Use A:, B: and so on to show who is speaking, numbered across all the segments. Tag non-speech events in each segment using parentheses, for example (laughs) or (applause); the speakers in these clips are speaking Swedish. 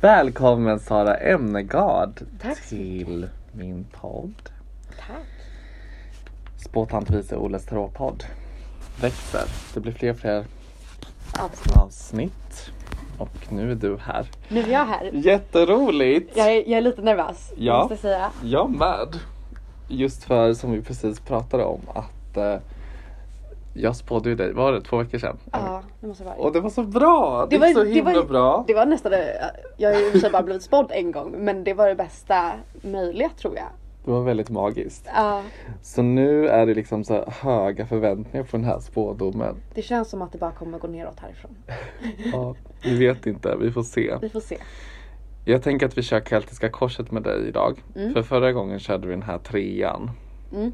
A: Välkommen Sara Emnegard
B: Tack så
A: till min podd.
B: Tack.
A: Spåtant vice Oles tarotpodd. Växer. Det blir fler och fler
B: Avsnitt.
A: avsnitt. Och nu är du här.
B: Alltså, Nu är jag här.
A: Jätteroligt!
B: Jag är, jag är lite nervös,
A: Ja.
B: måste jag säga.
A: Jag med. Just för som vi precis pratade om att eh, jag spådde ju dig, var det två veckor sedan?
B: Ja, det måste vara.
A: Och det var så bra! Det, gick så himla
B: det var,
A: bra.
B: Det var nästan det, jag har ju i och för sig bara blivit spådd en gång men det var det bästa möjliga tror jag.
A: det var väldigt magiskt.
B: Ja,
A: Så nu är det liksom så här höga förväntningar på den här spådomen.
B: det känns som att det bara kommer gå neråt härifrån.
A: Ja, vi vet inte, vi får se.
B: Vi får se.
A: Jag tänker att vi kör keltiska korset med dig idag.
B: Mm.
A: För förra gången körde vi den här trean.
B: Mm.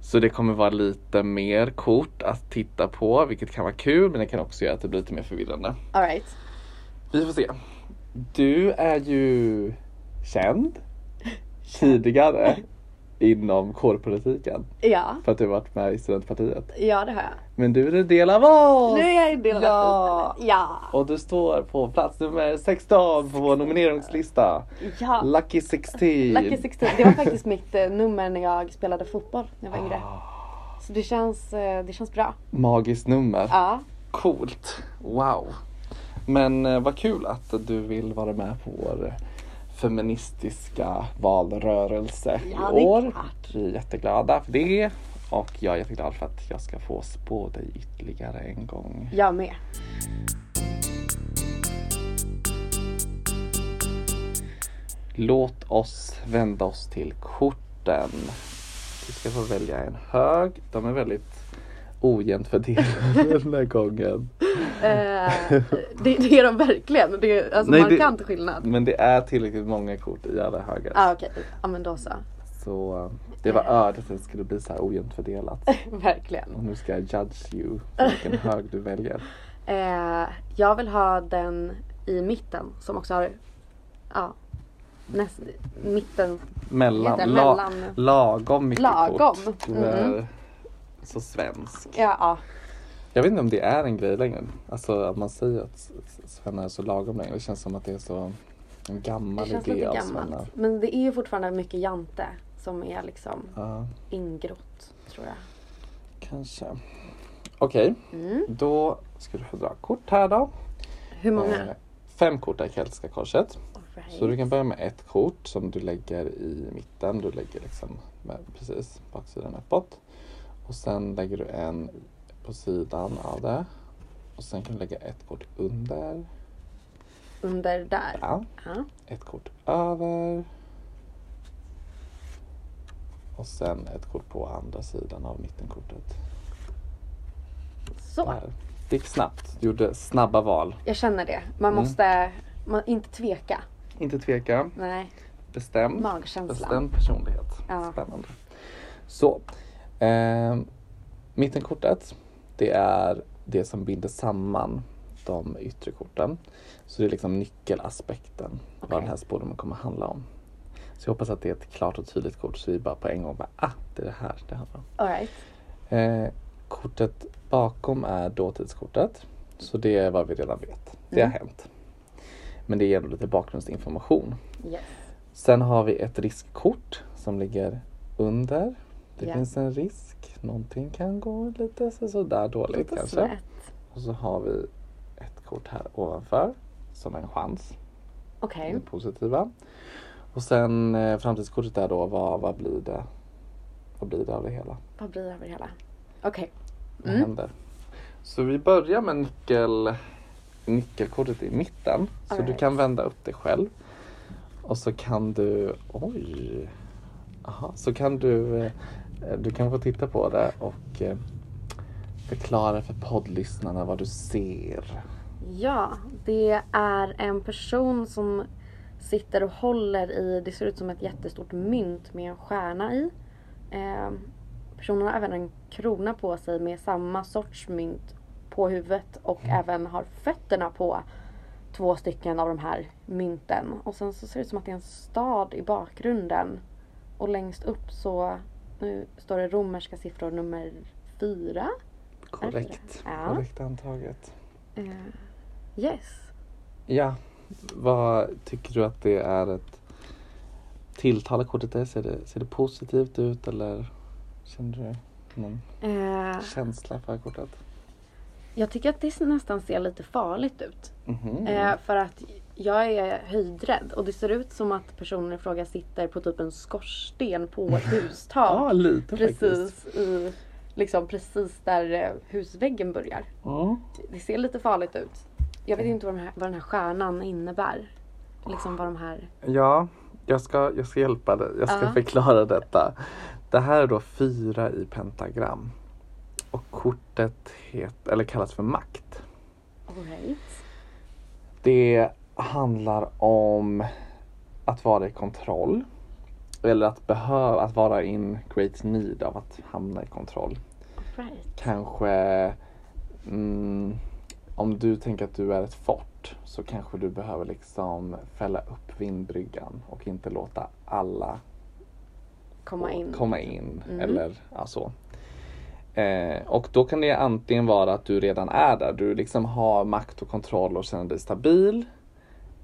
A: Så det kommer vara lite mer kort att titta på, vilket kan vara kul men det kan också göra att det blir lite mer förvirrande.
B: Alright.
A: Vi får se. Du är ju
B: (laughs)
A: känd tidigare inom kårpolitiken
B: Ja,
A: för att du har varit med i studentpartiet.
B: ja det har jag.
A: Men du är en del av oss!
B: Nu är jag en del
A: Ja.
B: av detta istället. Ja,
A: Och du står på plats nummer 16 på vår nomineringslista.
B: ja.
A: Lucky 16.
B: Lucky 16. Det var faktiskt mitt eh, nummer när jag spelade fotboll när jag var yngre.
A: Ah,
B: Så det känns, eh, det känns bra.
A: magiskt nummer.
B: Ja.
A: Coolt. Wow. Men eh, vad kul att du vill vara med på vår eh, feministiska valrörelse
B: Ja,
A: i
B: det är
A: år.
B: klart.
A: Vi är jätteglada för det. Och jag är jätteglad för att jag ska få spå dig ytterligare en gång.
B: Jag med.
A: Låt oss vända oss till korten. Vi ska få välja en hög. De är väldigt ojämnt fördelade den här gången.
B: Eh, det, det är de verkligen. Det är alltså
A: Nej, det- Mm.
B: markant skillnad.
A: Men det är tillräckligt många kort i alla högar.
B: Ja ah, okej, ja men då så. (laughs)
A: Så eh, det var ödet att det skulle bli så här ojämnt fördelat. Och
B: Verkligen.
A: nu ska jag judge you
B: (laughs)
A: för vilken hög du väljer.
B: Eh, jag vill ha den i mitten som också har, ja, näst, mitten.
A: Mellan,
B: Heter
A: la,
B: mellan.
A: lagom mycket
B: Lagom.
A: kort. Du
B: Mm.
A: är så svensk.
B: Ja, ja.
A: Jag vet inte om det är en grej längre. Alltså att man säger att s- s- svennar är så lagom längre. Det känns som att det är så en
B: det
A: gammal
B: känns
A: idé
B: lite
A: av svennar.
B: gammalt. Men det är ju fortfarande mycket jante som är liksom
A: Ja,
B: ingrott tror jag.
A: kanske. Okej,
B: Mm.
A: då ska du få dra kort här då.
B: Hur många?
A: Eh, Fem kort är keltiska korset. Så du
B: Alright.
A: kan börja med ett kort som du lägger i mitten. Du lägger liksom med, precis baksidan uppåt. Och sen lägger du en på sidan av det. Och sen kan du lägga ett kort under.
B: Under där.
A: Ja.
B: Ja.
A: ett kort över. Och sen ett kort på andra sidan av mittenkortet.
B: Så.
A: Där. Det gick snabbt. Du gjorde snabba val.
B: Jag känner det. Man
A: Mm.
B: måste man, inte tveka.
A: Inte tveka.
B: Nej.
A: Bestämd.
B: Magkänslan.
A: Bestämd personlighet.
B: Ja.
A: Spännande. Så. ehm, mittenkortet. Det är det som binder samman de yttre korten. Så det är liksom nyckelaspekten. Vad
B: Okej.
A: den här spådomen kommer handla om. Så jag hoppas att det är ett klart och tydligt kort så vi bara på en gång bara ah, det är det här det handlar om.
B: Alright.
A: Eh, kortet bakom är dåtidskortet. Så det är vad vi redan vet. Det
B: Mm.
A: har hänt. Men det är ändå lite bakgrundsinformation.
B: Yes.
A: Sen har vi ett riskkort som ligger under. Det
B: Ja.
A: finns en risk. Någonting kan gå lite så- sådär dåligt
B: Lite
A: kanske.
B: snett.
A: Och så har vi ett kort här ovanför som en chans.
B: Okej.
A: Det positiva. Och sen eh, framtidskortet där då. Vad, vad blir det? Vad blir det av det hela?
B: Vad blir det över hela? Okej.
A: Vad
B: Mm.
A: händer? Så vi börjar med nyckel, nyckelkortet i mitten. Så du
B: Alright.
A: kan vända upp det själv. Och så kan du, oj. Aha, så kan du, eh, du kan få titta på det och eh, förklara för poddlyssnarna vad du ser.
B: Ja, det är en person som sitter och håller i, det ser ut som ett jättestort mynt med en stjärna i. Eh, personen har även en krona på sig med samma sorts mynt på huvudet och även har fötterna på två stycken av de här mynten. Och sen så ser det ut som att det är en stad i bakgrunden. Och längst upp så nu står det romerska siffror nummer fyra.
A: Korrekt.
B: Ja.
A: Korrekt antaget.
B: Eh, yes.
A: Ja, Vad tycker du att det är ett tilltalarkortet är? Ser det, ser det positivt ut eller känner du någon
B: Eh,
A: känsla för kortet?
B: jag tycker att det nästan ser lite farligt ut.
A: Mhm.
B: Eh, för att jag är höjdrädd och det ser ut som att personen i fråga sitter på typ en skorsten på ett hustak.
A: Ja, lite faktiskt.
B: precis, i, liksom precis där eh, husväggen börjar.
A: Ja.
B: Det ser lite farligt ut. Jag vet inte vad, de här, vad den här stjärnan innebär. Liksom vad de här...
A: Ja, jag ska, jag ska hjälpa dig. Jag ska
B: Ja.
A: förklara detta. Det här är då fyra i pentagram. Och kortet het, eller kallas för makt.
B: Alright.
A: Det handlar om att vara i kontroll. Eller att behöva, att vara in great need av att hamna i kontroll.
B: Alright.
A: Kanske mm, om du tänker att du är ett fort så kanske du behöver liksom fälla upp vindbryggan och inte låta alla
B: Komma
A: och
B: in.
A: komma in
B: Mm.
A: eller ja, så. Eh, och då kan det antingen vara att du redan är där, du liksom har makt och kontroll och känner dig stabil.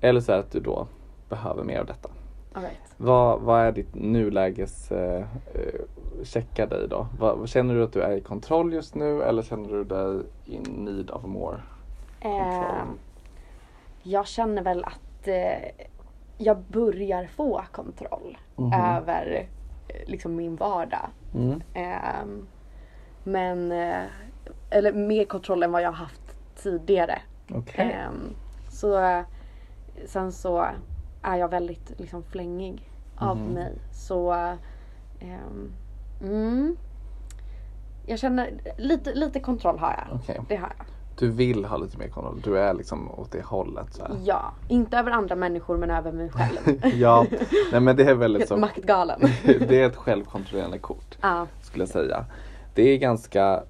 A: Eller så är det att du då behöver mer av detta.
B: Alright.
A: Vad, vad är ditt nuläges eh, eh, checka dig då? Vad, känner du att du är i kontroll just nu eller känner du dig in need of more?
B: Eh, jag känner väl att eh, jag börjar få kontroll
A: Mhm.
B: Äh, över eh, liksom min vardag.
A: Mm.
B: Ehm, men, eh, eller mer kontroll än vad jag haft tidigare.
A: Okej.
B: Ehm, så, eh, sen så är jag väldigt liksom flängig av
A: Mhm.
B: mig. Så, ehm, mm, jag känner lite, lite kontroll har jag.
A: Okej.
B: Det har jag.
A: Du vill ha lite mer kontroll, du är liksom åt det hållet. Så här.
B: Ja, inte över andra människor men över mig själv.
A: ja, nej men (laughs) det är väldigt
B: (laughs) Helt
A: så.
B: Maktgalen.
A: (laughs) det är ett självkontrollerande kort.
B: Ja,
A: skulle jag säga. Det är ganska,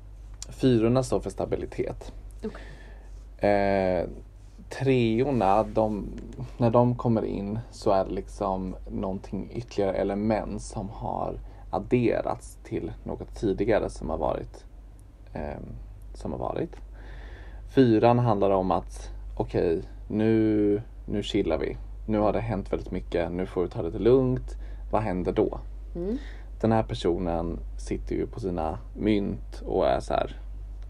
A: fyrorna står för stabilitet.
B: Okej.
A: Eh, treorna, de, när de kommer in så är det liksom någonting ytterligare element som har adderats till något tidigare som har varit. Eh, som har varit. Fyran handlar om att okej, nu, nu chillar vi. Nu har det hänt väldigt mycket, nu får vi ta det lite lugnt. Vad händer då?
B: mm.
A: den här personen sitter ju på sina mynt och är så här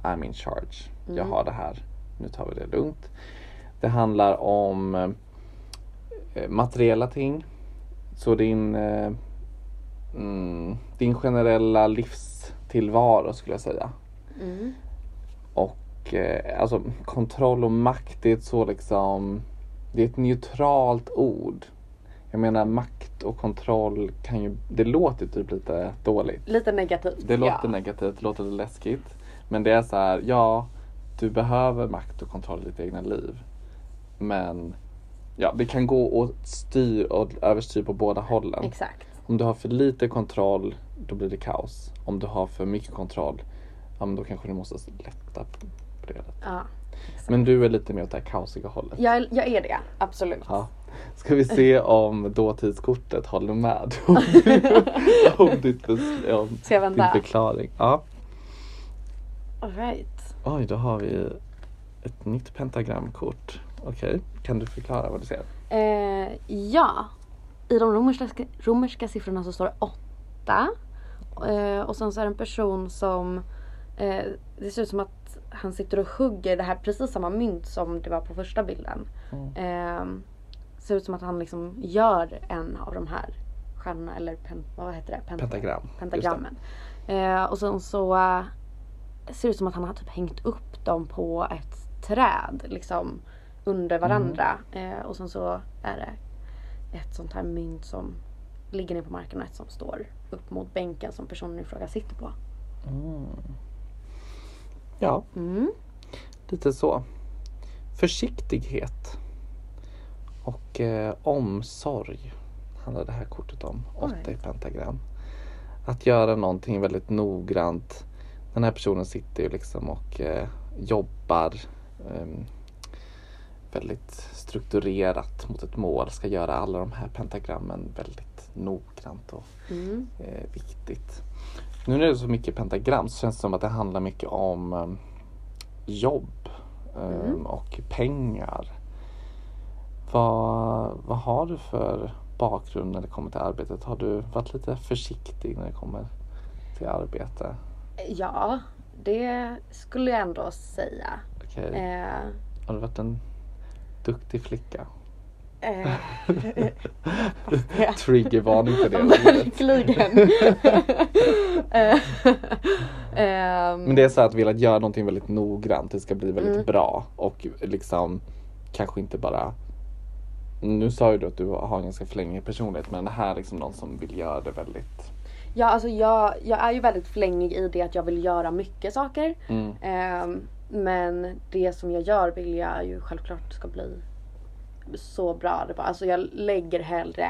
A: I'm in charge. Jag har det här. Nu tar vi det lugnt. Det handlar om eh, materiella ting. Så din, eh, mm, din generella livstillvaro skulle jag säga.
B: Mm.
A: Och eh, alltså kontroll och makt det är ett så liksom Det är ett neutralt ord. Jag menar makt och kontroll kan ju, det låter typ lite dåligt.
B: Lite negativt.
A: Det låter
B: ja.
A: negativt, det låter lite läskigt. Men det är så här, ja, du behöver makt och kontroll i ditt egna liv. Men ja, det kan gå och styr och överstyr på båda hållen.
B: Exakt.
A: Om du har för lite kontroll, då blir det kaos. Om du har för mycket kontroll, ja men då kanske du måste lätta på på det.
B: Ja.
A: Men du är lite mer åt det här kaosiga hållet.
B: Jag, är- jag är det, absolut.
A: Ja. Ska vi se om dåtidskortet håller med om, om, ditt, bes- om
B: Ska jag
A: din
B: vända?
A: förklaring? Ja.
B: Alright.
A: Oj, då har vi ett nytt pentagramkort. Okej, kan du förklara vad du ser?
B: Eh, ja. I de romerska, romerska siffrorna så står det åtta. Eh, och sen så är det en person som... Eh, det ser ut som att han sitter och hugger det här precis samma mynt som det var på första bilden.
A: Mm.
B: Eh, ser ut som att han liksom gör en av de här stjärnorna eller pen, vad heter det? Pent-
A: Pentagram.
B: pentagrammen. Eh, och sen så eh, ser det ut som att han har typ hängt upp dem på ett träd liksom under varandra. Eh, och sen så är det ett sånt här mynt som ligger ner på marken och ett som står upp mot bänken som personen i fråga sitter på.
A: Mm. Ja,
B: Mm.
A: lite så. Försiktighet och eh, omsorg handlar det här kortet om. Åtta i
B: Alright.
A: pentagram. Att göra någonting väldigt noggrant. Den här personen sitter ju liksom och eh, jobbar ehm, väldigt strukturerat mot ett mål. Ska göra alla de här pentagrammen väldigt noggrant och
B: Mm.
A: eh, viktigt. Nu när det är så mycket pentagram så känns det som att det handlar mycket om eh, jobb eh,
B: Mm.
A: och pengar. Vad, vad har du för bakgrund när det kommer till arbetet? Har du varit lite försiktig när det kommer till arbete?
B: Ja, det skulle jag ändå säga.
A: Okej,
B: Eh,
A: har du varit en duktig flicka?
B: eh, (laughs)
A: Triggervarning för
B: (laughs)
A: det. ordet.
B: Verkligen. (laughs) Eh, ehm,
A: Men det är så här att vilja göra någonting väldigt noggrant, det ska bli väldigt
B: Mm.
A: bra och liksom kanske inte bara nu sa ju du att du har en ganska flängig personlighet men det här är liksom någon som vill göra det väldigt
B: Ja, alltså jag, jag är ju väldigt flängig i det att jag vill göra mycket saker.
A: mm.
B: Ehm, men det som jag gör vill jag ju självklart ska bli så bra det bara. Alltså jag lägger hellre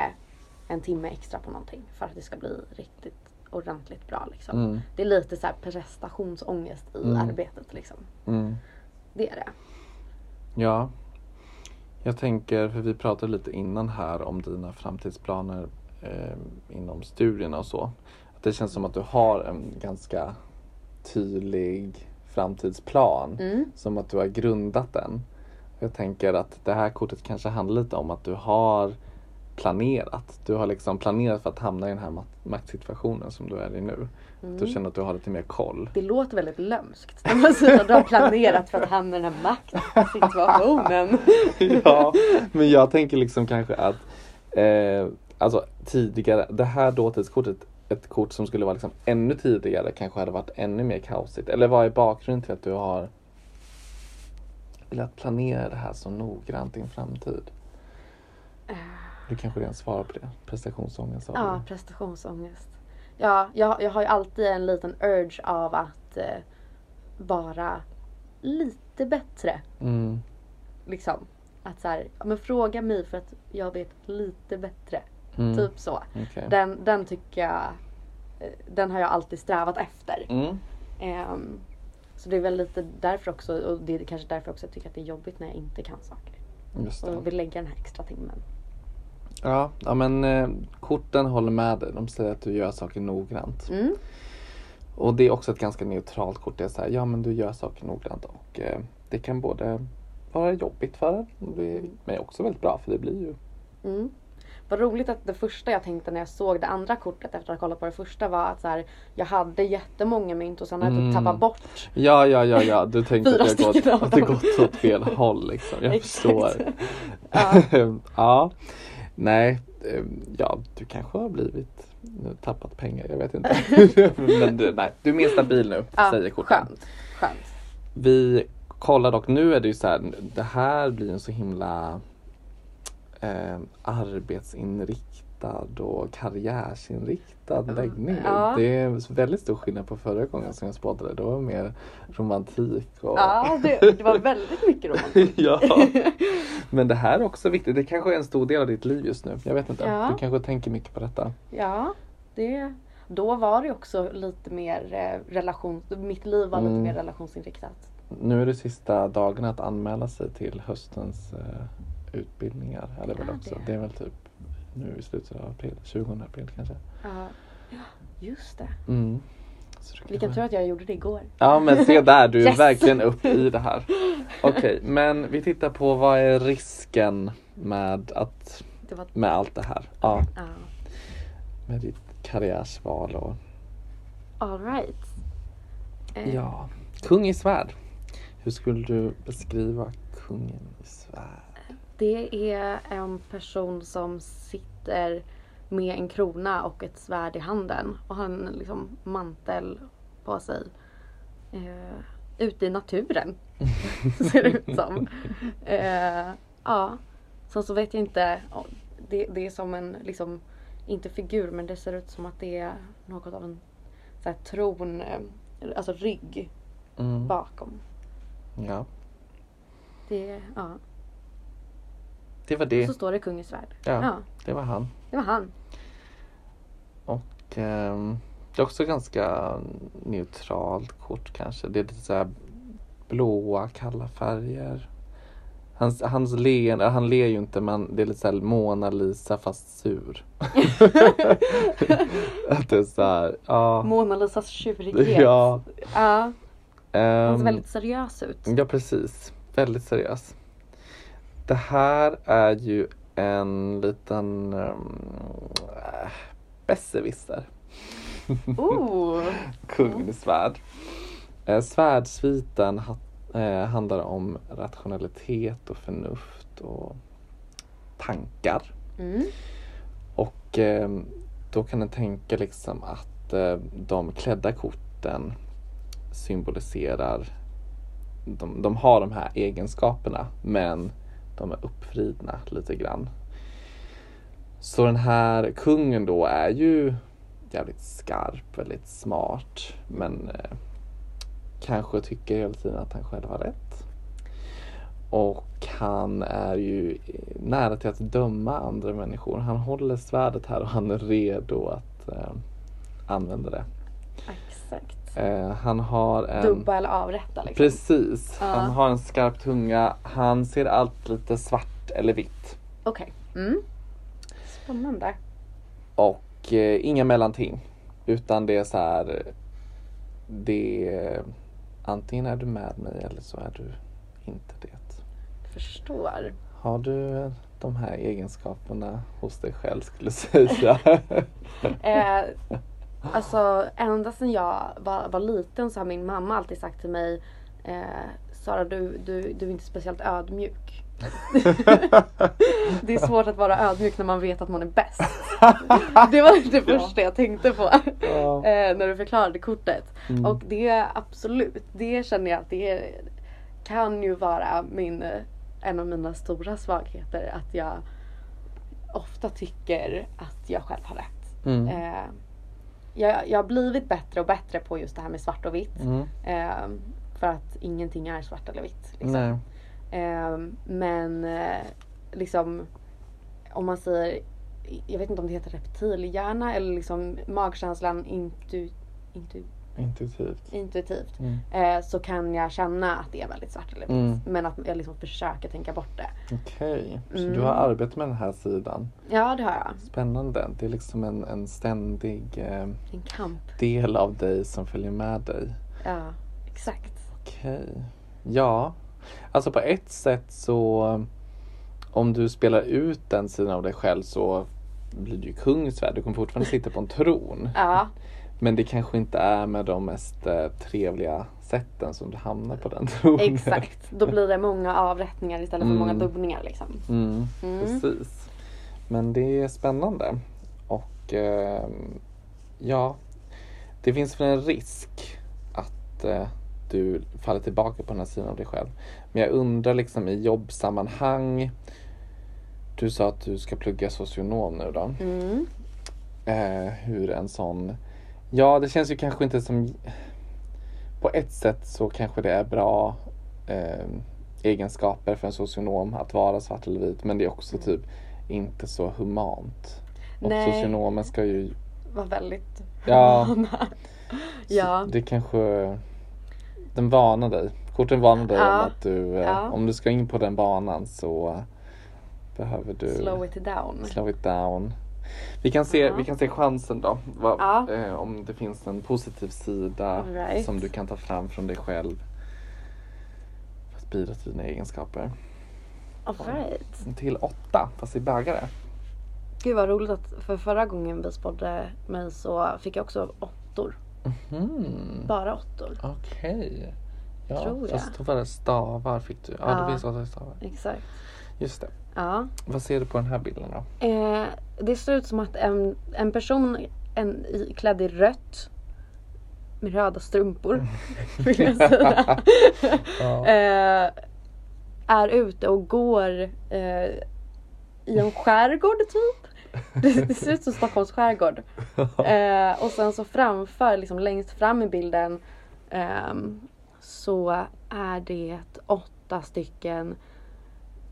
B: en timme extra på någonting för att det ska bli riktigt ordentligt bra liksom.
A: Mm.
B: Det är lite så här prestationsångest i
A: Mm.
B: arbetet liksom.
A: Mm.
B: Det är det.
A: Ja. Jag tänker, för vi pratade lite innan här om dina framtidsplaner eh, inom studierna och så. Att det känns som att du har en ganska tydlig framtidsplan.
B: Mm.
A: Som att du har grundat den. Jag tänker att det här kortet kanske handlar lite om att du har planerat. Du har liksom planerat för att hamna i den här mak- maktsituationen som du är i nu. Att du känner att du har lite mer koll.
B: Det låter väldigt lömskt när man säger att du har planerat för att hamna i den här maktsituationen.
A: (laughs) ja, men jag tänker liksom kanske att eh, alltså tidigare, det här dåtidskortet, ett kort som skulle vara liksom ännu tidigare kanske hade varit ännu mer kaosigt. Eller vad är bakgrunden till att du har velat planera det här så noggrant i en framtid? Du kanske redan svarar på det? Prestationsångest sa
B: Eh. Ja, prestationsångest. Ja, jag, jag har ju alltid en liten urge av att eh, vara lite bättre.
A: du. Mm,
B: Liksom. Att så här, ja, men fråga mig för att jag vet lite bättre.
A: mm,
B: Typ så.
A: okej.
B: Den, den tycker jag, eh, den har jag alltid strävat efter.
A: Mm,
B: Ehm, så det är väl lite därför också, och det är kanske därför också jag tycker att det är jobbigt när jag inte kan saker.
A: just det.
B: Och vill lägga den här extra timmen.
A: Ja, ja, men eh, korten håller med dig. De säger att du gör saker noggrant.
B: Mm.
A: Och det är också ett ganska neutralt kort. Det är så här, ja men du gör saker noggrant och eh, det kan både vara jobbigt för en, och det- men också väldigt bra för det blir ju.
B: Mm. Vad roligt att det första jag tänkte när jag såg det andra kortet efter att ha kollat på det första var att så här, jag hade jättemånga mynt och sen har jag typ
A: Mm.
B: tappat bort.
A: Ja, ja, ja, ja. Du tänkte
B: Fyra
A: att det har gått,
B: stycken av
A: att det
B: dem.
A: gått åt fel håll liksom. Jag
B: Exakt.
A: förstår.
B: Ja.
A: (laughs) ja. Nej, eh, ja, du kanske har blivit nu tappat pengar. Jag vet (laughs) inte. men du, nej, du är mer stabil nu,
B: Ja,
A: säger korten.
B: skönt. skönt.
A: Vi kollar dock, nu är det ju så här, det här blir en så himla eh, arbetsinriktad och karriärsinriktad läggning. nu.
B: ja.
A: Det är väldigt stor skillnad på förra gången som jag spådde Då var det mer romantik. Och...
B: Ja, det, det var väldigt mycket roligt.
A: (laughs)
B: (laughs)
A: ja. Men det här är också viktigt. Det kanske är en stor del av ditt liv just nu. Jag vet inte.
B: Ja.
A: Du kanske tänker mycket på detta.
B: Ja, det, då var det också lite mer eh, relation, mitt liv var lite
A: Mm.
B: mer relationsinriktat.
A: Nu är det sista dagen att anmäla sig till höstens eh, utbildningar. Eller väl
B: Ja,
A: också.
B: det.
A: Det är väl typ nu i slutet av april, 20 april kanske.
B: Ja, just det.
A: Mm. Så det kan
B: Vilken
A: vara-
B: tur att jag gjorde det igår.
A: Ja men se där, du är
B: Yes!
A: verkligen upp i det här. Okej, men vi tittar på vad är risken med, att,
B: Det var,
A: med allt det här? Ja,
B: ja.
A: med ditt karriärsval och
B: All right. Eh,
A: ja. Kung i svärd. Hur skulle du beskriva kungen i svärd?
B: Det är en person som sitter med en krona och ett svärd i handen och har en liksom mantel på sig. Eh, ute i naturen, (laughs) (laughs) ser det ut som. Eh, ja. Sen så vet jag inte, ja, det, det är som en, liksom, inte figur men det ser ut som att det är något av en så här, tron, eh, alltså rygg
A: Mm.
B: bakom.
A: Ja,
B: Det, ja.
A: det var
B: Och så
A: det.
B: står det kungens svärd.
A: Ja.
B: ja,
A: Det var han.
B: det var han.
A: Och ehm, det är också ganska neutralt kort kanske. Det är lite så här blåa, kalla färger. Hans, hans leen, eller han ler ju inte men det är lite såhär Mona Lisa fast sur. att det är såhär, ja.
B: Mona Lisas tjurighet.
A: (laughs) Ja,
B: Ja, han ser
A: ehm,
B: väldigt seriös ut.
A: ja precis. Väldigt seriös. Det här är ju en liten um, äh, besserwisser. Mm.
B: Oh!
A: Kungen i svärd. Eh, svärdsviten ha- eh, handlar om rationalitet och förnuft och tankar.
B: Mm.
A: Och eh, då kan en tänka liksom att eh, de klädda korten symboliserar, de, de har de här egenskaperna men de är uppvridna lite grann. Så den här kungen då är ju jävligt skarp, väldigt smart men eh, kanske tycker hela tiden att han själv har rätt. Och han är ju nära till att döma andra människor. Han håller svärdet här och han är redo att eh, använda det.
B: Exakt.
A: Eh, han har en...
B: Dubba eller avrätta liksom.
A: Precis.
B: Ja.
A: Han har en skarp tunga. Han ser allt lite svart eller vitt.
B: Okej. Mm. Spännande.
A: Och eh, inga mellanting. Utan det är så här... Det är, antingen är du med mig eller så är du inte det.
B: Förstår.
A: Har du de här egenskaperna hos dig själv skulle jag säga? (laughs)
B: Eh, alltså ända sedan jag var, var liten så har min mamma alltid sagt till mig eh, Sara du, du, du är inte speciellt ödmjuk. Det är svårt att vara ödmjuk när man vet att man är
A: (laughs)
B: bäst. Det var det
A: Ja.
B: första jag tänkte på
A: Ja.
B: eh, när du förklarade kortet.
A: Mm.
B: Och det är absolut, det känner jag att det är, kan ju vara min, eh, en av mina stora svagheter. Att jag ofta tycker att jag själv har rätt.
A: Mm.
B: Eh, jag, jag har blivit bättre och bättre på just det här med svart och vitt.
A: Mm.
B: Eh, för att ingenting är svart eller vitt. Liksom.
A: Nej.
B: Eh, men eh, liksom om man säger, jag vet inte om det heter reptilhjärna eller liksom magkänslan intu, intu,
A: Intuitivt.
B: intuitivt.
A: Mm.
B: Eh, så kan jag känna att det är väldigt svart eller vitt.
A: Mm.
B: Men att jag liksom försöker tänka bort det.
A: Okej, så
B: Mm.
A: du har arbetat med den här sidan.
B: Ja det har jag.
A: Spännande. Det är liksom en, en ständig eh,
B: En kamp.
A: del av dig som följer med dig.
B: Ja exakt.
A: Okej. Ja. Alltså på ett sätt så om du spelar ut den sidan av dig själv så blir du ju kung i Sverige. Du kommer fortfarande sitta på en tron. (laughs)
B: Ja
A: Men det kanske inte är med de mest eh, trevliga sätten som du hamnar på den (laughs) tronen.
B: exakt. Då blir det många avrättningar istället för
A: Mm.
B: många dubbningar liksom.
A: Mm,
B: Mm.
A: Precis. Men det är spännande. Och eh, ja, det finns väl en risk att eh, du faller tillbaka på den här sidan av dig själv. Men jag undrar liksom i jobbsammanhang. Du sa att du ska plugga socionom nu då.
B: Mm.
A: eh, hur en sån... Ja, det känns ju kanske inte som... På ett sätt så kanske det är bra eh, egenskaper för en socionom att vara svart eller vit, men det är också typ inte så humant. Och
B: Nej.
A: socionomen ska ju...
B: Var väldigt
A: Ja, så
B: Ja.
A: det kanske... Den varnar dig. Korten varnar dig
B: Ja.
A: om att du, eh,
B: Ja.
A: om du ska in på den banan så behöver du...
B: Slow it down.
A: Slow it down. Vi kan se,
B: Ja.
A: vi kan se chansen då. Vad,
B: Ja.
A: eh, om det finns en positiv sida
B: Right.
A: som du kan ta fram från dig själv. För att bidra till dina egenskaper.
B: Alright.
A: Till åtta, fast i bögare.
B: Gud vad roligt att för förra gången vi spådde mig så fick jag också åttor.
A: Mm.
B: Bara åttor.
A: Okej. Ja,
B: Tror jag.
A: fast då var det stavar fick du. Ja,
B: Ja.
A: det finns åtta stavar.
B: Exakt.
A: Just det.
B: Ja.
A: Vad ser du på den här bilden då?
B: Eh, det ser ut som att en, en person en, i, klädd i rött med röda strumpor (laughs) vill jag säga.
A: Ja.
B: eh, är ute och går eh, i en skärgård typ. (laughs) Det, det ser ut som Stockholms skärgård. Eh, och sen så framför, liksom längst fram i bilden ehm, så är det åtta stycken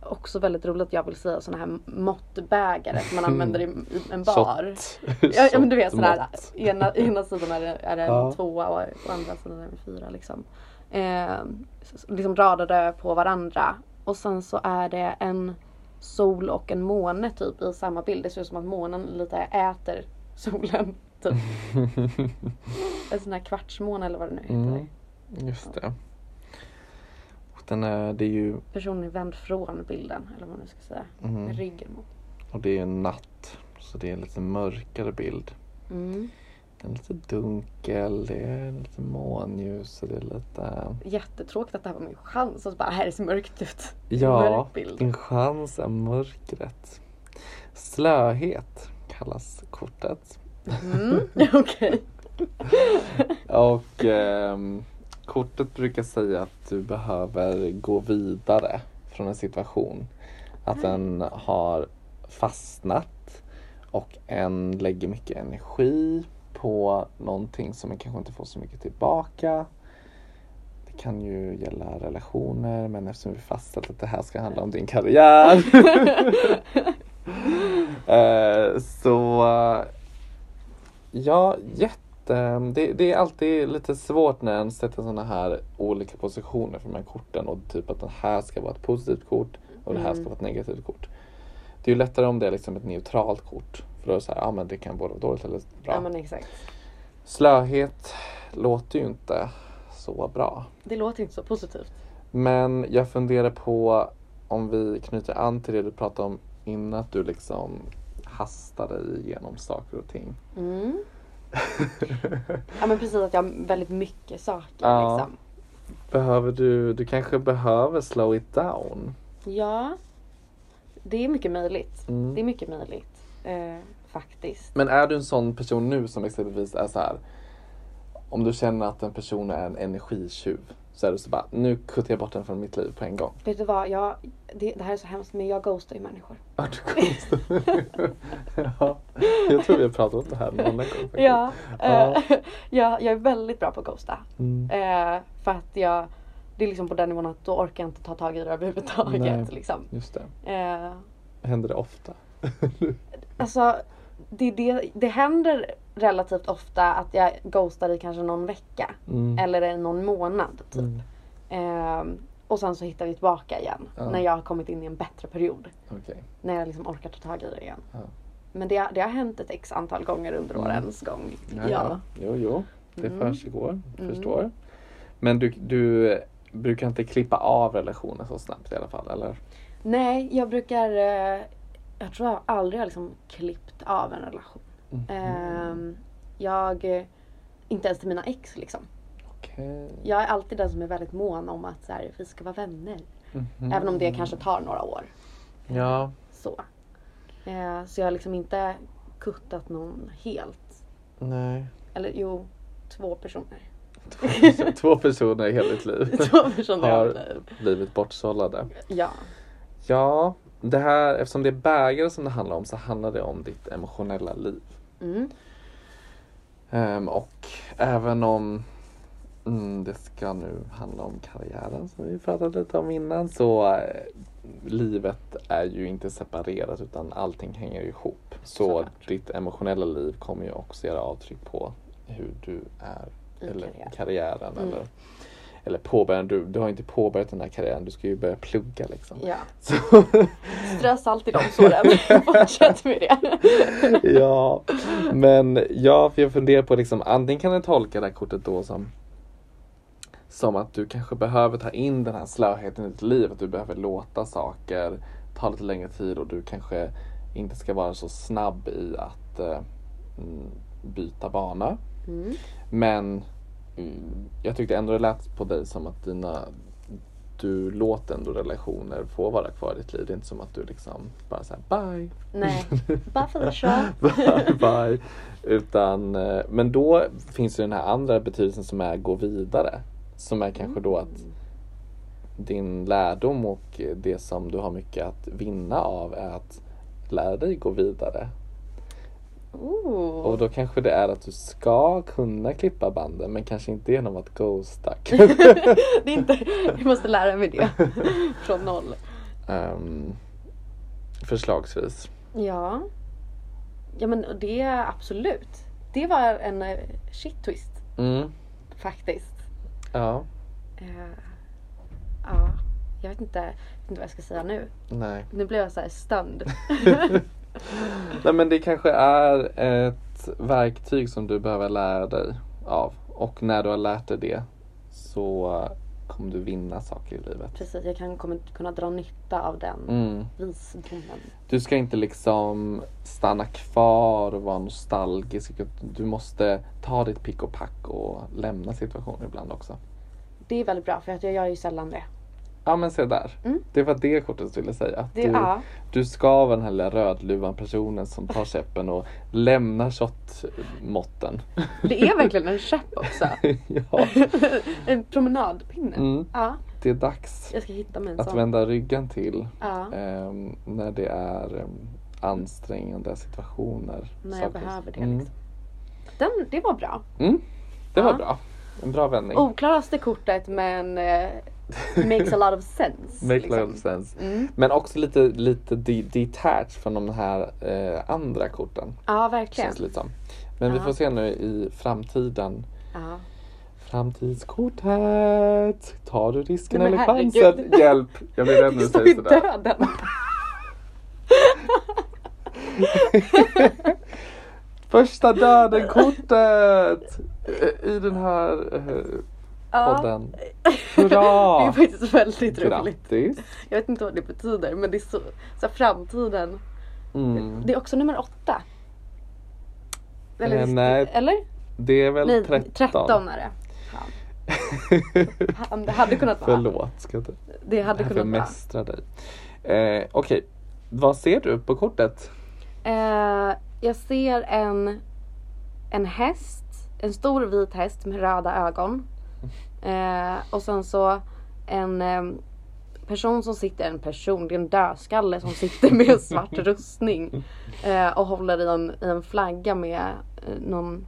B: Också väldigt roligt att jag vill säga sådana här måttbägare som man använder i, i en bar. Ja, ja men du vet sådär,
A: Shotmått.
B: ena, ena sidan är det, är det en
A: Ja.
B: tvåa och, och andra sidan är det en fyra liksom. Ehm, s- s- liksom radade på varandra. Och sen så är det en sol och en måne typ i samma bild. Det ser ut som att månen lite äter solen. Typ.
A: (laughs)
B: En sån här kvartsmåne eller vad det nu heter.
A: Mm, just det. Och Den är, det är ju,
B: Personen är vänd från bilden, eller vad man nu ska säga.
A: mm,
B: Med ryggen mot.
A: och det är ju natt. Så det är en lite mörkare bild.
B: Mm.
A: Den är lite dunkel, det är lite månljus och det är lite...
B: Jättetråkigt att det här var min chans och så bara, här ser mörkt ut.
A: Ja,
B: Mörk bild.
A: din chans är mörkret. Slöhet kallas kortet.
B: Mm. (laughs) Okej.
A: Och ehm, kortet brukar säga att du behöver gå vidare från en situation. Att den har fastnat och en lägger mycket energi på någonting som man kanske inte får så mycket tillbaka. Det kan ju gälla relationer men eftersom vi fastställt att det här ska handla om din
B: (laughs)
A: karriär Eh, så eh, ja, jätte. Det, det är alltid lite svårt när en sätter sådana här olika positioner för de här korten och typ att den här ska vara ett positivt kort och det här ska
B: Mm.
A: vara ett negativt kort. Det är ju lättare om det är liksom ett neutralt kort. För då är det så här, ja men det kan både vara dåligt eller bra.
B: Ja men exakt.
A: Slöhet låter ju inte så bra.
B: Det låter inte så positivt.
A: Men jag funderar på om vi knyter an till det du pratade om innan att du liksom hastar dig igenom saker och ting.
B: Mm.
A: (laughs)
B: Ja men precis att jag har väldigt mycket saker
A: Ja.
B: liksom.
A: behöver du, du kanske behöver slow it down.
B: Ja. Det är mycket möjligt.
A: Mm.
B: Det är mycket möjligt. Eh, faktiskt.
A: Men är du en sån person nu som exempelvis är så här. Om du känner att en person är en energitjuv så är du så bara, nu kuttar jag bort den från mitt liv på en gång.
B: Vet du vad? Jag, det, det här är så hemskt men jag ghostar ju människor.
A: Ja, du kuttar. (laughs) ja, jag tror vi har pratat om det här någon annan gång. faktiskt.
B: Ja.
A: Ja.
B: Eh, (laughs) ja. Jag är väldigt bra på att ghosta.
A: Mm.
B: Eh, för att jag, det är liksom på den nivån att då orkar jag inte ta tag i det överhuvudtaget.
A: Nej.
B: Liksom.
A: Just det,
B: Eh,
A: händer det ofta? (laughs)
B: alltså, det, det, det händer relativt ofta att jag ghostar i kanske någon vecka.
A: Mm.
B: Eller i någon månad. Typ.
A: Mm.
B: Eh, och sen så hittar vi tillbaka igen.
A: Ja.
B: När jag har kommit in i en bättre period.
A: Okej.
B: När jag liksom orkar ta tag i det igen.
A: Ja.
B: Men det, det har hänt ett x antal gånger under
A: Mm.
B: årens gång.
A: Ja, ja. Jo, jo. Det
B: Mm.
A: försiggår.
B: Mm.
A: Förstår. Men du, du eh, brukar inte klippa av relationer så snabbt i alla fall, eller?
B: Nej, jag brukar... eh, Jag tror jag aldrig har liksom klippt av en relation.
A: Mhm.
B: Ehm, Jag... eh, Inte ens till mina ex liksom.
A: Okej.
B: Jag är alltid den som är väldigt mån om att så här, vi ska vara vänner.
A: Mhm.
B: Även om det kanske tar några år.
A: Ja,
B: Så. Eh, Så jag har liksom inte kuttat någon helt.
A: nej.
B: Eller jo, två personer.
A: Två perso- Två personer i hela ditt liv
B: (laughs) Två personer
A: (laughs) Har-
B: i mitt liv.
A: blivit bortsållade.
B: Ja.
A: Ja, det här, eftersom det är bägare som det handlar om så handlar det om ditt emotionella liv.
B: Mm.
A: Ehm, och även om mm, det ska nu handla om karriären som vi pratade lite om innan så eh, livet är ju inte separerat utan allting hänger ihop. Så
B: Såklart.
A: ditt emotionella liv kommer ju också göra avtryck på hur du är
B: I
A: eller
B: karriären.
A: karriären
B: Mm.
A: eller, eller påbörjan. Du, du har inte påbörjat den här karriären, du ska ju börja plugga liksom.
B: ja.
A: Så,
B: Strö salt i de såren. Fortsätt med det.
A: (laughs) ja, men ja, för jag funderar på liksom, antingen kan jag tolka det här kortet då som som att du kanske behöver ta in den här slöheten i ditt liv, att du behöver låta saker ta lite längre tid och du kanske inte ska vara så snabb i att eh, mm, byta bana.
B: Mm.
A: Men mm, jag tyckte ändå det lät på dig som att dina, du låter ändå relationer få vara kvar i ditt liv. Det är inte som att du liksom bara säger bye.
B: Nej, bara för att köra.
A: bye, (laughs) bye. Utan, eh, men då finns ju den här andra betydelsen som är gå vidare. Som är kanske då att din lärdom och det som du har mycket att vinna av är att lära dig gå vidare. Och
B: Ooh.
A: då kanske det är att du ska kunna klippa banden men kanske inte genom att ghosta. (laughs)
B: Det är inte, jag måste lära mig det. (laughs) Från noll.
A: Ehm, förslagsvis.
B: Ja. Ja men det är absolut. Det var en eh, shit twist
A: Mm.
B: faktiskt.
A: Ja,
B: Eh, ja, jag vet inte, jag vet inte vad jag ska säga nu.
A: nej.
B: Nu blev jag så här stönd.
A: (laughs) Nej men det kanske är ett verktyg som du behöver lära dig av. Och när du har lärt dig det så kommer du vinna saker i livet.
B: Precis, jag kan, kommer kunna dra nytta av den
A: Mm.
B: visdomen.
A: Du ska inte liksom stanna kvar och vara nostalgisk. Du måste ta ditt pick och pack och lämna situationer ibland också.
B: Det är väldigt bra för att jag gör ju
A: (laughs)
B: sällan det.
A: Ja men se där.
B: Mm.
A: Det var det kortet ville säga. Att
B: det
A: du,
B: ja,
A: du ska vara den här lilla rödluvan personen som tar käppen och lämnar shotmåtten.
B: det är verkligen en käpp också.
A: (laughs) ja,
B: en promenadpinne.
A: mm.
B: Ja,
A: det är dags
B: jag ska hitta mig en
A: att
B: sån.
A: vända ryggen till
B: Ja,
A: ehm, när det är ehm, ansträngande situationer.
B: när jag
A: Saker-
B: behöver det.
A: Mm.
B: Liksom. Den, det var bra.
A: Mm. Det var
B: Ja.
A: bra. En bra vändning.
B: Oklaraste kortet
A: (laughs)
B: men eh, makes a lot of sense.
A: Make
B: liksom.
A: little sense.
B: Mm.
A: Men också lite, lite de- detached från de här eh, andra korten.
B: Ja, verkligen.
A: Känns lite som. Men vi
B: Ja.
A: får se nu i framtiden.
B: Ja.
A: Framtidskortet! Tar du risken
B: Nej, men
A: eller chansen?
B: (laughs) herregud.
A: Hjälp! Jag blir rädd när
B: Det
A: du
B: står ju
A: säger sådär.
B: döden.
A: Första döden-kortet! Eh, I den här eh, (laughs)
B: Ja. (laughs)
A: podden.
B: Det är
A: Hurra!
B: faktiskt väldigt roligt.
A: Grattis!
B: Jag vet inte vad det betyder men det är så, så här, framtiden.
A: Mm.
B: Det är också nummer åtta.
A: Eh,
B: visst-
A: nej.
B: eller?
A: Det är väl
B: Nej,
A: 13?
B: 13 är det. Han- Det hade kunnat
A: (laughs)
B: vara.
A: Förlåt, ska jag inte...
B: Det hade
A: Det här
B: kunnat vara.
A: bemästra dig. Eh, Okej, vad ser du på kortet?
B: Eh, jag ser en, en häst, en stor vit häst med röda ögon. Eh, och sen så en em, person som sitter, en person, det är en dödskalle som sitter med en svart rustning. Eh, och håller i en, i en flagga med eh, någon,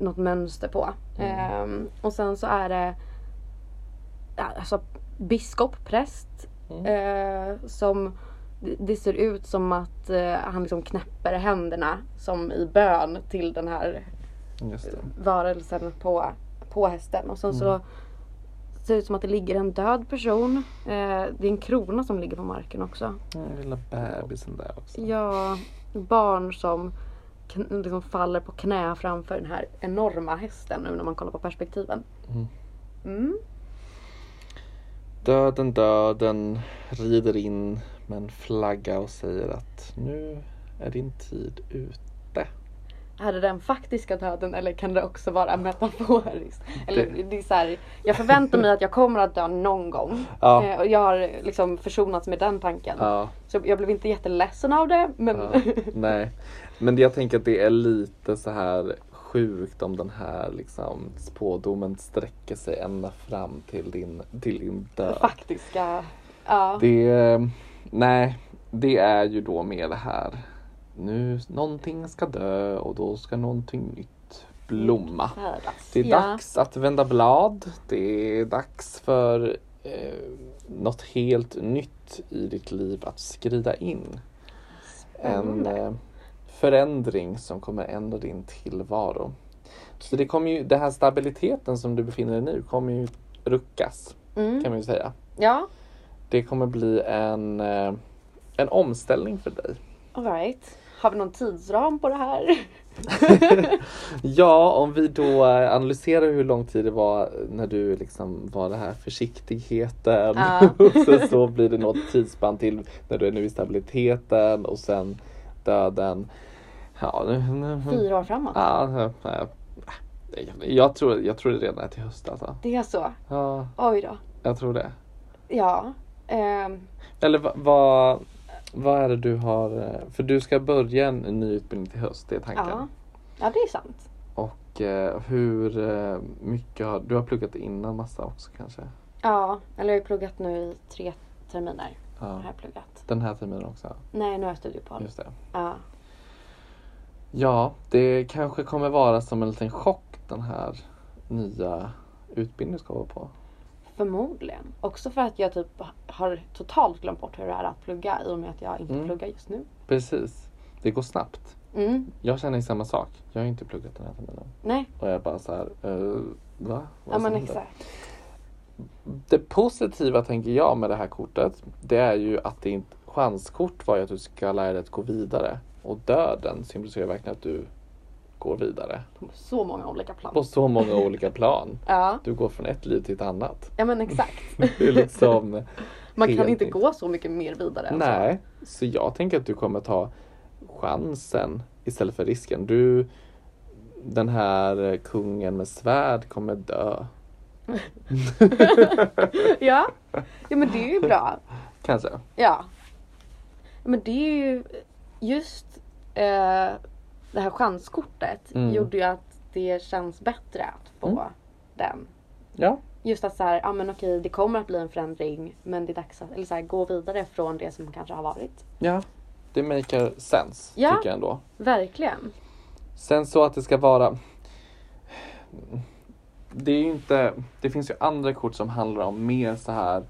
B: något mönster på. Ehm, och sen så är det ja, alltså, biskop, präst. Eh, som det- det ser ut som att eh, han liksom knäpper händerna som i bön till den här
A: Just det.
B: varelsen på, på hästen. Och sen så ser det ut som att det ligger en död person. Eh, det är en krona som ligger på marken också.
A: Den lilla bebisen där också.
B: Ja, barn som kn- liksom faller på knä framför den här enorma hästen nu när man kollar på perspektiven.
A: Mm.
B: Mm.
A: Döden, döden rider in med en flagga och säger att nu är din tid ut.
B: Är det den faktiska döden eller kan det också vara metaforiskt? Eller det, är så här, jag förväntar mig att jag kommer att dö någon gång.
A: Ja.
B: Eh, och jag har liksom försonats med den tanken.
A: Ja,
B: Så jag blev inte jätteledsen av det men (laughs)
A: ja, (laughs) nej. Men jag tänker att det är lite så här sjukt om den här liksom spådomen sträcker sig ända fram till din, till din död.
B: faktiska... Ja.
A: Det, nej, det är ju då med det här. Nu, någonting ska dö och då ska någonting nytt blomma.
B: Så här, alltså.
A: Det är
B: ja.
A: dags att vända blad. Det är dags för eh, något helt nytt i ditt liv att skrida in. En
B: Spännande.
A: eh, förändring som kommer ändra din tillvaro. Så det kommer ju, den här stabiliteten som du befinner dig i nu kommer ju ruckas
B: Mm.
A: kan man ju säga.
B: Ja,
A: Det kommer bli en, eh, en omställning för dig.
B: alright. Har vi någon tidsram på det här?
A: Mm. Ja, om vi då eh, analyserar hur lång tid det var när du liksom var det här försiktigheten.
B: Ja.
A: (laughs) och sen så blir det något tidsspann till när du är nu i stabiliteten och sen döden. Ja, nu- nu-
B: Fyra år framåt.
A: ja, nej, nej. jag, tror, jag tror det redan är till höst alltså.
B: Det är så.
A: Ja,
B: Oj då.
A: jag tror det.
B: Ja. Ehm,
A: Eller va- vad vad är det du har? eh, För du ska börja en ny utbildning till höst, det är tanken.
B: ja. ja, det är sant.
A: Och eh, hur eh, mycket har du har pluggat innan massa också kanske?
B: Ja, eller jag har pluggat nu i tre terminer.
A: Ja.
B: Har jag pluggat.
A: Den här terminen också?
B: Nej, nu har jag studieuppehåll.
A: Just det.
B: Ja.
A: Ja, det kanske kommer vara som en liten chock den här nya utbildningen du ska vara på.
B: Förmodligen. Också för att jag typ har totalt glömt bort hur det är att plugga i och med att jag inte
A: Mm.
B: pluggar just nu.
A: Precis. Det går snabbt.
B: Mm.
A: Jag känner samma sak. Jag har inte pluggat den här terminen.
B: Nej,
A: Och jag är bara så här, eh, va? Vad
B: ja
A: som
B: men
A: händer?
B: exakt.
A: Det positiva tänker jag med det här kortet, det är ju att ditt chanskort var ju att du ska lära dig att gå vidare. Och döden symboliserar verkligen att du går vidare.
B: På så många olika plan.
A: På så många olika plan.
B: Ja,
A: Du går från ett liv till ett annat.
B: ja men exakt.
A: (laughs) Det är liksom...
B: (laughs) Man kan
A: Helt
B: inte
A: nytt.
B: gå så mycket mer vidare. än så.
A: (laughs) Nej, så jag tänker att du kommer ta chansen istället för risken. Du, den här kungen med svärd kommer dö.
B: (laughs) Ja. ja, men det är ju bra.
A: Kanske.
B: Ja. Men det är ju just eh, det här chanskortet
A: Mm.
B: gjorde ju att det känns bättre att få
A: Mm.
B: den.
A: Ja.
B: Just att så här, ja men okej det kommer att bli en förändring men det är dags att eller så här, gå vidare från det som kanske har varit.
A: ja. Det maker sense,
B: Ja.
A: tycker jag ändå.
B: Verkligen.
A: Sen så att det ska vara... Det är ju inte... Det finns ju andra kort som handlar om mer så här...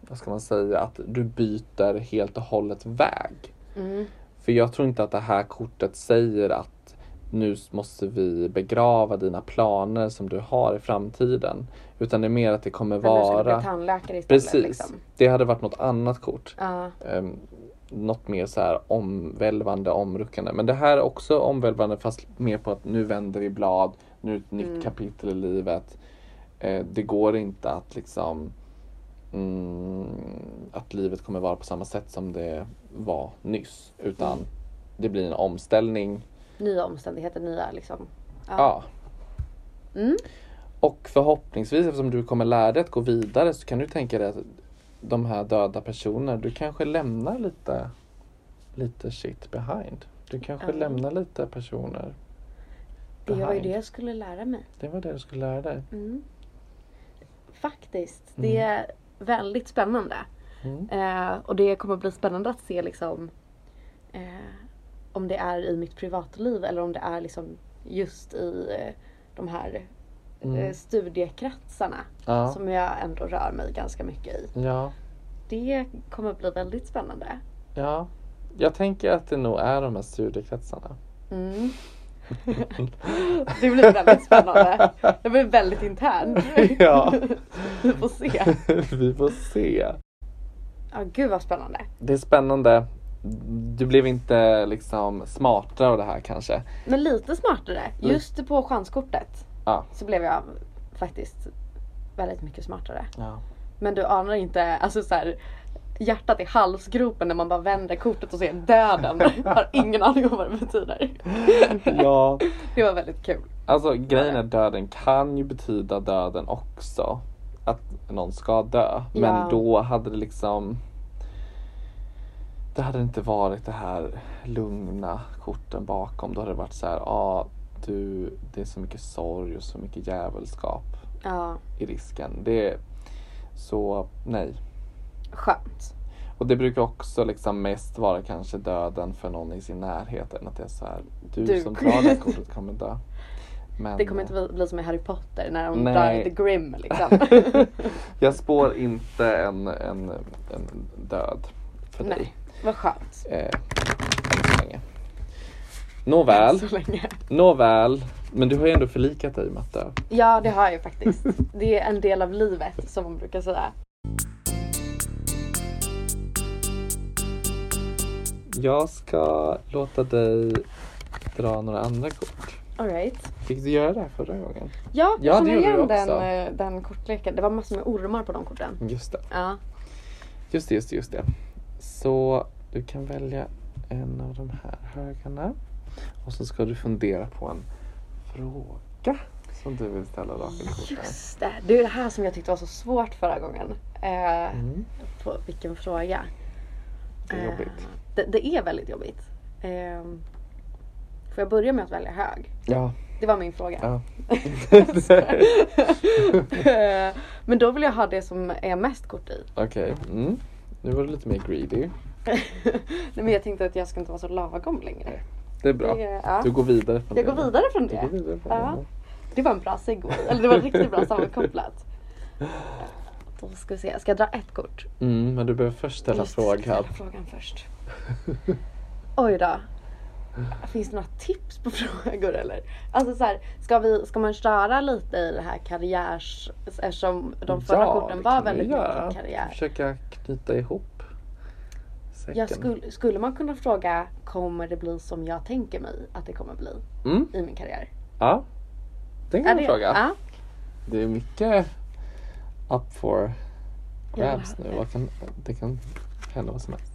A: Vad ska man säga? Att du byter helt och hållet väg.
B: Mm.
A: För jag tror inte att det här kortet säger att nu måste vi begrava dina planer som du har i framtiden. Utan det är mer att det kommer
B: Men nu ska du
A: vara...
B: bli tandläkare istället.
A: Precis.
B: Liksom.
A: Det hade varit något annat kort.
B: Ja.
A: Um, något mer så här omvälvande, omruckande. Men det här är också omvälvande fast mer på att nu vänder vi blad, nu är ett nytt
B: Mm.
A: kapitel i livet. Eh, det går inte att liksom mm, att livet kommer vara på samma sätt som det var nyss. Utan
B: Mm.
A: det blir en omställning.
B: Nya omständigheter, nya liksom. Ja.
A: Ja.
B: Mm.
A: Och förhoppningsvis eftersom du kommer lära dig att gå vidare så kan du tänka dig att de här döda personerna, du kanske lämnar lite, lite shit behind. Du kanske
B: Mm.
A: lämnar lite personer.
B: Det var ju
A: behind.
B: det jag skulle lära mig.
A: Det var det du skulle lära dig.
B: Mm. Faktiskt. Det är väldigt spännande.
A: Mm.
B: Eh, och det kommer bli spännande att se liksom eh, om det är i mitt privatliv eller om det är liksom just i eh, de här eh,
A: Mm.
B: studiekretsarna
A: Ja.
B: som jag ändå rör mig ganska mycket i.
A: ja,
B: Det kommer bli väldigt spännande.
A: ja. Jag tänker att det nog är de här
B: (laughs)
A: studiekretsarna.
B: Mm. det blir väldigt spännande. Det blir väldigt internt. (laughs)
A: Ja.
B: Vi får se.
A: Vi får se.
B: Ja, gud vad spännande.
A: Det är spännande. Du blev inte liksom smartare av det här kanske.
B: Men lite smartare. Just på chanskortet
A: Mm. Ja.
B: så blev jag faktiskt väldigt mycket smartare.
A: Ja.
B: Men du anar inte, alltså så här, hjärtat i halsgropen när man bara vänder kortet och
A: (laughs)
B: ser döden. Jag har ingen aning om vad det betyder.
A: ja.
B: Det var väldigt kul.
A: Alltså grejen är döden kan ju betyda döden också. Att någon ska dö. Men
B: Ja.
A: då hade det liksom Det hade inte varit det här lugna korten bakom. Då hade det varit så här, ja ah, du det är så mycket sorg och så mycket djävulskap
B: Ja,
A: i risken. Det är så nej.
B: skönt.
A: Och det brukar också liksom mest vara kanske döden för någon i sin närhet än att det är så här, du,
B: Du.
A: som drar
B: (laughs)
A: det här kortet kommer dö. Men,
B: Det kommer inte bli- bli som i Harry Potter när de
A: Nej.
B: drar The Grim liksom.
A: (laughs) Jag spår inte en, en, en död för dig.
B: Nej, vad skönt.
A: Eh, än så länge. Nåväl,
B: Så länge.
A: nåväl. Men du har ju ändå förlikat dig med att dö.
B: Ja, det har jag ju (laughs) faktiskt. Det är en del av livet som man brukar säga.
A: Jag ska låta dig dra några andra kort.
B: Alright.
A: Fick du göra det här förra gången?
B: Ja,
A: Ja,
B: jag
A: det
B: känner
A: gjorde
B: igen
A: du
B: den,
A: också.
B: eh, den kortleken. Det var massor med ormar på de korten.
A: Just det,
B: Ja.
A: just det, just det. Just det. Så du kan välja en av de här högarna. Och så ska du fundera på en fråga som du vill ställa Rakel.
B: Just det. Det är det här som jag tyckte var så svårt förra gången. Eh,
A: Mm.
B: på, vilken fråga.
A: Det är
B: Eh,
A: jobbigt.
B: Det, det är väldigt jobbigt. Eh, får jag börja med att välja hög?
A: Ja.
B: Det var min fråga.
A: Ja.
B: Eh, (laughs) Men då vill jag ha det som är mest kort i. (laughs)
A: Okej. Mm. Nu var du lite mer greedy.
B: Nej, men jag tänkte att jag ska inte vara så lagom längre.
A: Det är bra.
B: Det- ja.
A: Du går vidare från
B: Jag
A: det
B: går
A: nu.
B: vidare från
A: Du
B: det.
A: går vidare från
B: Ja.
A: det.
B: Det var en bra segway. Eller det var riktigt bra sammankopplat. Då ska vi se. Ska jag dra ett kort?
A: nu. Mm, men du behöver först ställa
B: Just det, ska jag
A: frågan.
B: Ställa frågan först. Oj då. Finns det några tips på (laughs) frågor eller? Alltså så här, ska, vi, ska man köra lite i det här karriärs... Eftersom de förra
A: Ja,
B: korten
A: det
B: var
A: kan vi
B: väldigt
A: göra.
B: mycket karriär.
A: Försöka knyta ihop säcken.
B: Jag skulle, skulle man kunna fråga, kommer det bli som jag tänker mig att det kommer bli
A: Mm,
B: i min karriär?
A: ja. Den kan
B: Är
A: man
B: det-
A: fråga.
B: Ja.
A: Det är mycket up for
B: Ja,
A: grabs nu.
B: det-
A: Vad kan, det kan hända vad som helst.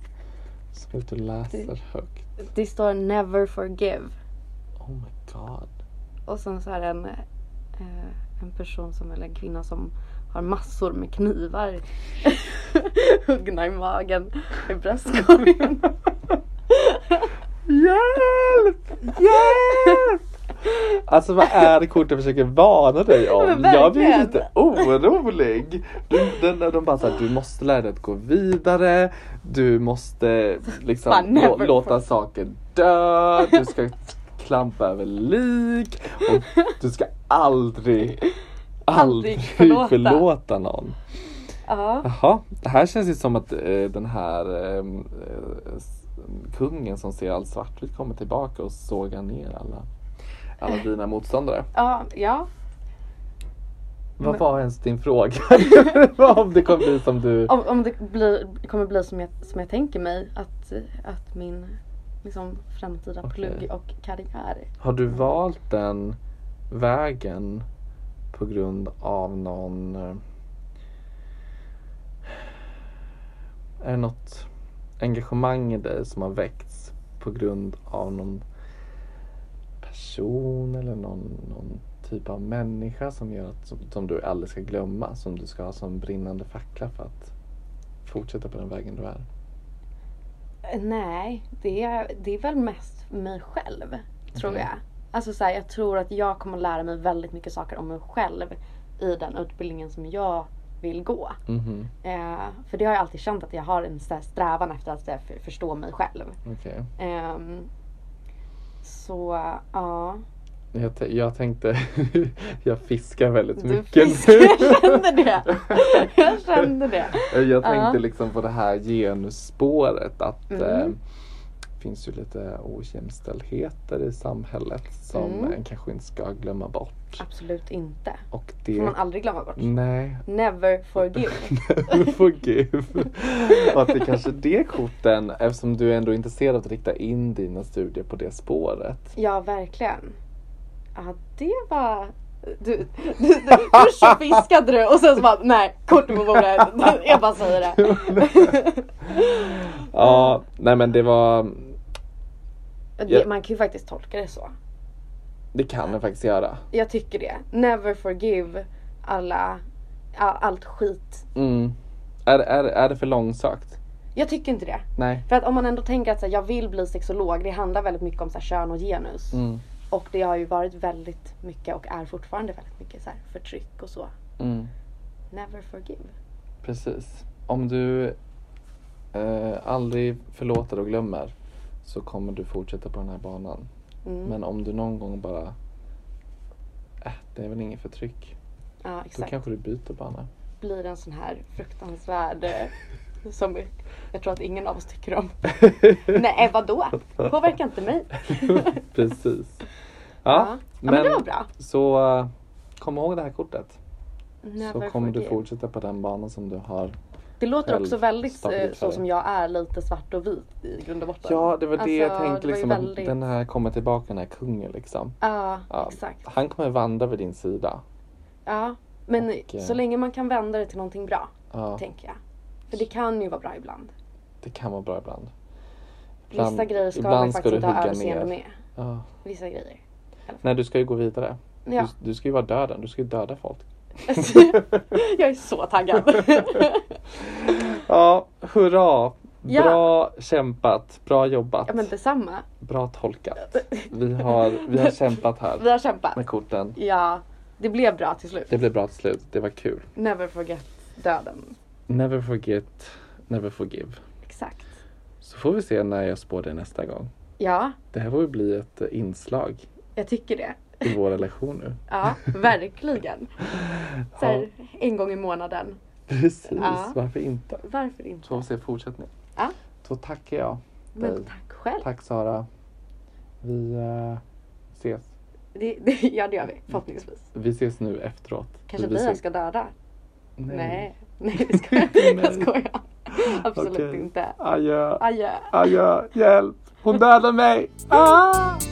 A: Så ut och läser högt.
B: Det står never forgive.
A: Oh my god.
B: Och sen så här en, eh, en person som, eller en kvinna som har massor med knivar (laughs) huggna i magen, i bröstkorgen.
A: (laughs) Hjälp! Hjälp! Alltså vad är det kortet försöker varna dig om?
B: Men
A: Jag blir
B: verkligen.
A: lite orolig. Du, den, de bara såhär, du måste lära dig att gå vidare. Du måste liksom
B: Fan,
A: lå,
B: never.
A: låta saker dö. Du ska klampa över lik. Och du ska aldrig, aldrig,
B: Aldrig förlåta.
A: förlåta någon.
B: ja.
A: Jaha, det här känns ju som att eh, den här eh, eh, s- kungen som ser allt svartvitt kommer tillbaka och sågar ner alla, alla dina motståndare.
B: Ja, ja.
A: Vad
B: Men-
A: var ens din fråga? (laughs) Vad om det kommer bli som du...
B: Om, om det blir, kommer bli som jag, som jag tänker mig att, att min liksom, framtida
A: Okej.
B: plugg och karriär.
A: Har du valt den vägen på grund av någon... eh, Är det något engagemang i dig som har väckts på grund av någon person eller någon, någon typ av människa som gör att, som, som du aldrig ska glömma, som du ska ha som brinnande fackla för att fortsätta på den vägen du är?
B: Nej, det är, det är väl mest mig själv. Tror
A: Okej.
B: jag. Alltså så här, jag tror att jag kommer lära mig väldigt mycket saker om mig själv i den utbildningen som jag vill gå.
A: Mhm,
B: Eh, för det har jag alltid känt att jag har en så här strävan efter att så här, för, förstå mig själv.
A: okej.
B: Ehm, så ja.
A: Jag, t- jag tänkte, (laughs) jag fiskar väldigt
B: Du
A: mycket
B: fiskar,
A: nu.
B: jag kände det. (laughs) Jag kände det.
A: (laughs) Jag tänkte
B: Ja.
A: liksom på det här genusspåret att
B: Mm.
A: eh, det finns ju lite ojämställdheter i samhället som
B: Mm.
A: en kanske inte ska glömma bort.
B: Absolut inte. Mm.
A: Och
B: får man
A: det...
B: aldrig glömma bort.
A: Nej, (laughs)
B: Never forgive.
A: Forgive. Och att det kanske är det korten, eftersom du är ändå intresserad av att rikta in dina studier på det spåret.
B: Ja, verkligen. Ja, det var... Du, du, du, först så fiskade du och sen så bara, nej, kort på bordet. Jag bara säger det.
A: (laughs) Ja, nej men det var,
B: det. Man kan ju faktiskt tolka det så.
A: det kan jag faktiskt göra.
B: Jag tycker det. Never forgive alla, ja, allt skit.
A: Mm. Är, är, är det för långsökt?
B: Jag tycker inte det.
A: Nej.
B: För att om man ändå tänker att så här, jag vill bli sexolog, det handlar väldigt mycket om så här, kön och genus.
A: Mm.
B: Och det har ju varit väldigt mycket och är fortfarande väldigt mycket så här, förtryck och så.
A: Mm.
B: Never forgive.
A: Precis. Om du eh, aldrig förlåter och glömmer så kommer du fortsätta på den här banan.
B: Mm.
A: Men om du någon gång bara, äh, det är väl inget förtryck.
B: ja,
A: Då
B: exakt.
A: kanske du byter bana.
B: blir en sån här
A: (laughs)
B: fruktansvärd eh, som jag tror att ingen av oss tycker om. Nej eh, vadå? Påverkar inte mig.
A: (laughs) Precis. Ja,
B: (laughs) Ja, men,
A: men
B: det var bra.
A: så eh, kom ihåg det här kortet.
B: Never
A: så kommer du
B: forgive.
A: fortsätta på den banan som du har
B: Det låter också
A: själv
B: väldigt
A: stapla
B: eh,
A: upp
B: så
A: här.
B: som jag är lite svart och vit i grund och botten.
A: Ja, det var det jag
B: Alltså,
A: tänkte
B: det var ju
A: liksom. Att
B: väldigt-
A: den här kommer tillbaka, den här kungen liksom.
B: Ja,
A: Ja.
B: exakt.
A: Han kommer vandra vid din sida.
B: Ja, men
A: Och, eh,
B: så länge man kan vända det till någonting bra,
A: Ja,
B: tänker jag. För det kan ju vara bra ibland.
A: det kan vara bra ibland.
B: Vissa
A: Ibland-
B: grejer ska
A: ibland
B: man ju
A: ska
B: faktiskt
A: du
B: inte ha
A: hugga
B: överseende
A: ner.
B: med.
A: Ja.
B: Vissa grejer.
A: Nej, du ska ju gå vidare.
B: Ja.
A: Du, du ska ju vara döden, du ska ju döda folk.
B: (laughs) jag är så taggad.
A: (laughs) Ja, hurra!
B: Ja.
A: Bra kämpat, bra jobbat,
B: ja men detsamma.
A: bra tolkat. Vi har, vi har kämpat här
B: Vi har kämpat.
A: med korten.
B: Ja, det blev bra till slut.
A: Det blev bra till slut, det var kul.
B: Never forget döden.
A: Never forget, never forgive.
B: Exakt.
A: Så får vi se när jag spår dig nästa gång.
B: Ja,
A: Det här får ju bli ett eh, inslag
B: jag tycker det.
A: i vår relation nu. (laughs)
B: Ja, verkligen. Så
A: Ja.
B: här, en gång i månaden.
A: Precis,
B: Ja.
A: varför inte?
B: Varför
A: Så får vi
B: inte?
A: se fortsättning.
B: Ja.
A: Så tackar jag.
B: Men tack själv.
A: Tack Sara. Vi eh, ses.
B: Det, det, ja, det gör vi förhoppningsvis.
A: Vi ses nu efteråt.
B: Kanske
A: vi
B: dig
A: ses-
B: jag ska döda.
A: Nej.
B: Nej, nej det ska jag inte. Jag skojar. Absolut
A: Okej.
B: inte.
A: Adjö.
B: Adjö.
A: Adjö. Hjälp. Hon dödar mig. Ah!